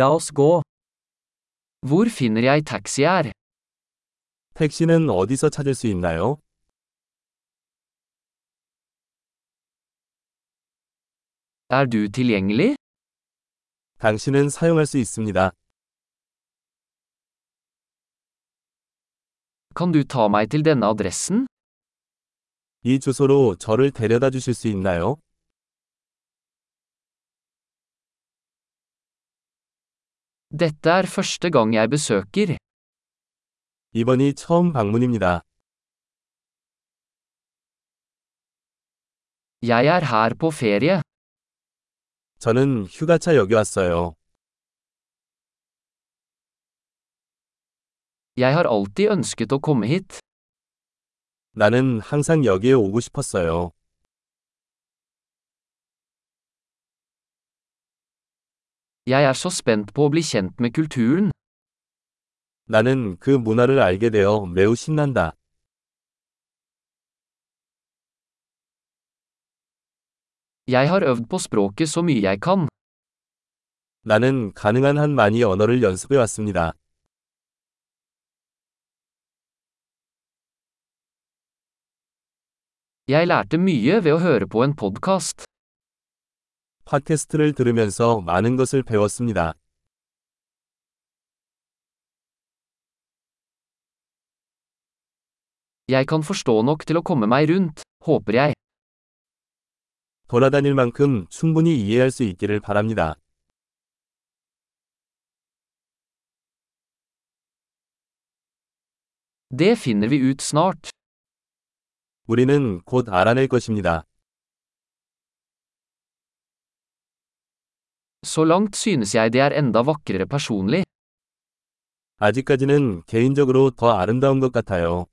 La oss gå. Hvor finner jeg taxi her? 택시는 어디서 찾을 수 있나요? Er du tilgjengelig? 당신은 사용할 수 있습니다. Kan du ta meg til denne adressen? 이 주소로 저를 데려다 주실 수 있나요? Dette er første gang jeg besøker. 이번이 처음 방문입니다. Jeg er her på ferie. 저는 휴가차 여기 왔어요. Jeg har alltid ønsket å komme hit. 나는 항상 여기에 오고 싶었어요. Jeg er så spent på å bli kjent med kulturen. 나는 그 문화를 알게 되어 매우 신난다. Jeg har øvd på språket så mye jeg kan. 나는 가능한 한 많이 언어를 연습해 왔습니다. Jeg lærte mye ved å høre på en podkast. 팟캐스트를 들으면서 많은 것을 배웠습니다. Jeg kan forstå nok til å komme meg rundt, håper jeg. 돌아다닐 만큼 충분히 이해할 수 있기를 바랍니다. Det finner vi ut snart. 우리는 곧 알아낼 것입니다. Så langt synes jeg det er enda vakrere personlig. 아직까지는 개인적으로 더 아름다운 것 같아요.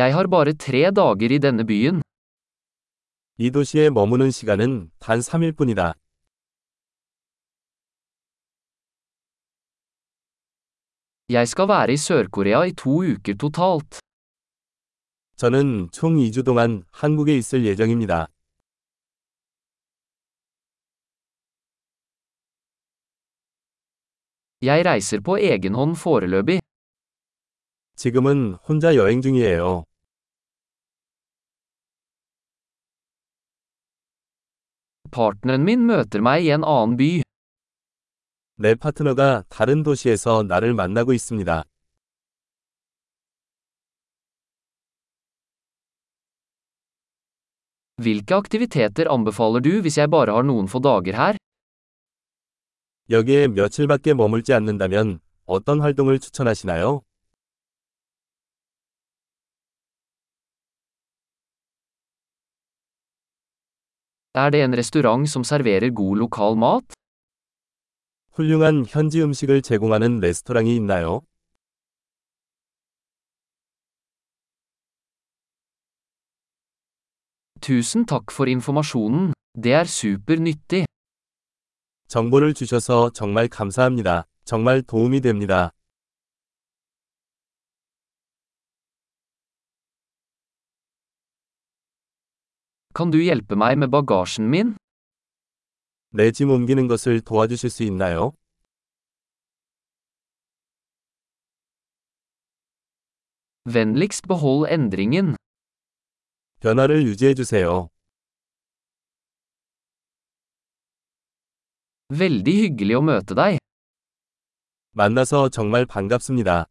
Jeg har bare tre dager i denne byen. 이 도시에 머무는 시간은 단 3일 뿐이다. Jeg skal være i Sør-Korea i to uker totalt. 저는 총 2주 동안 한국에 있을 예정입니다. Jeg reiser på egen hånd foreløpig. 지금은 혼자 여행 중이에요. Partneren min møter meg i en annen by. 내 파트너가 다른 도시에서 나를 만나고 있습니다. Hvilke aktiviteter anbefaler du hvis jeg bare har noen få dager her? 여기에 며칠밖에 머물지 않는다면 어떤 활동을 추천하시나요? Er det en restaurant som serverer god lokal mat? 훌륭한 현지 음식을 제공하는 레스토랑이 있나요? Tusen takk for informasjonen. Det er supernyttig. 정보를 주셔서 정말 감사합니다. 정말 도움이 됩니다. Kan du hjelpe meg med bagasjen min? 내 짐 옮기는 것을 도와주실 수 있나요? Vennligst behold endringen. 변화를 유지해 주세요. Veldig hyggelig å møte deg. 만나서 정말 반갑습니다.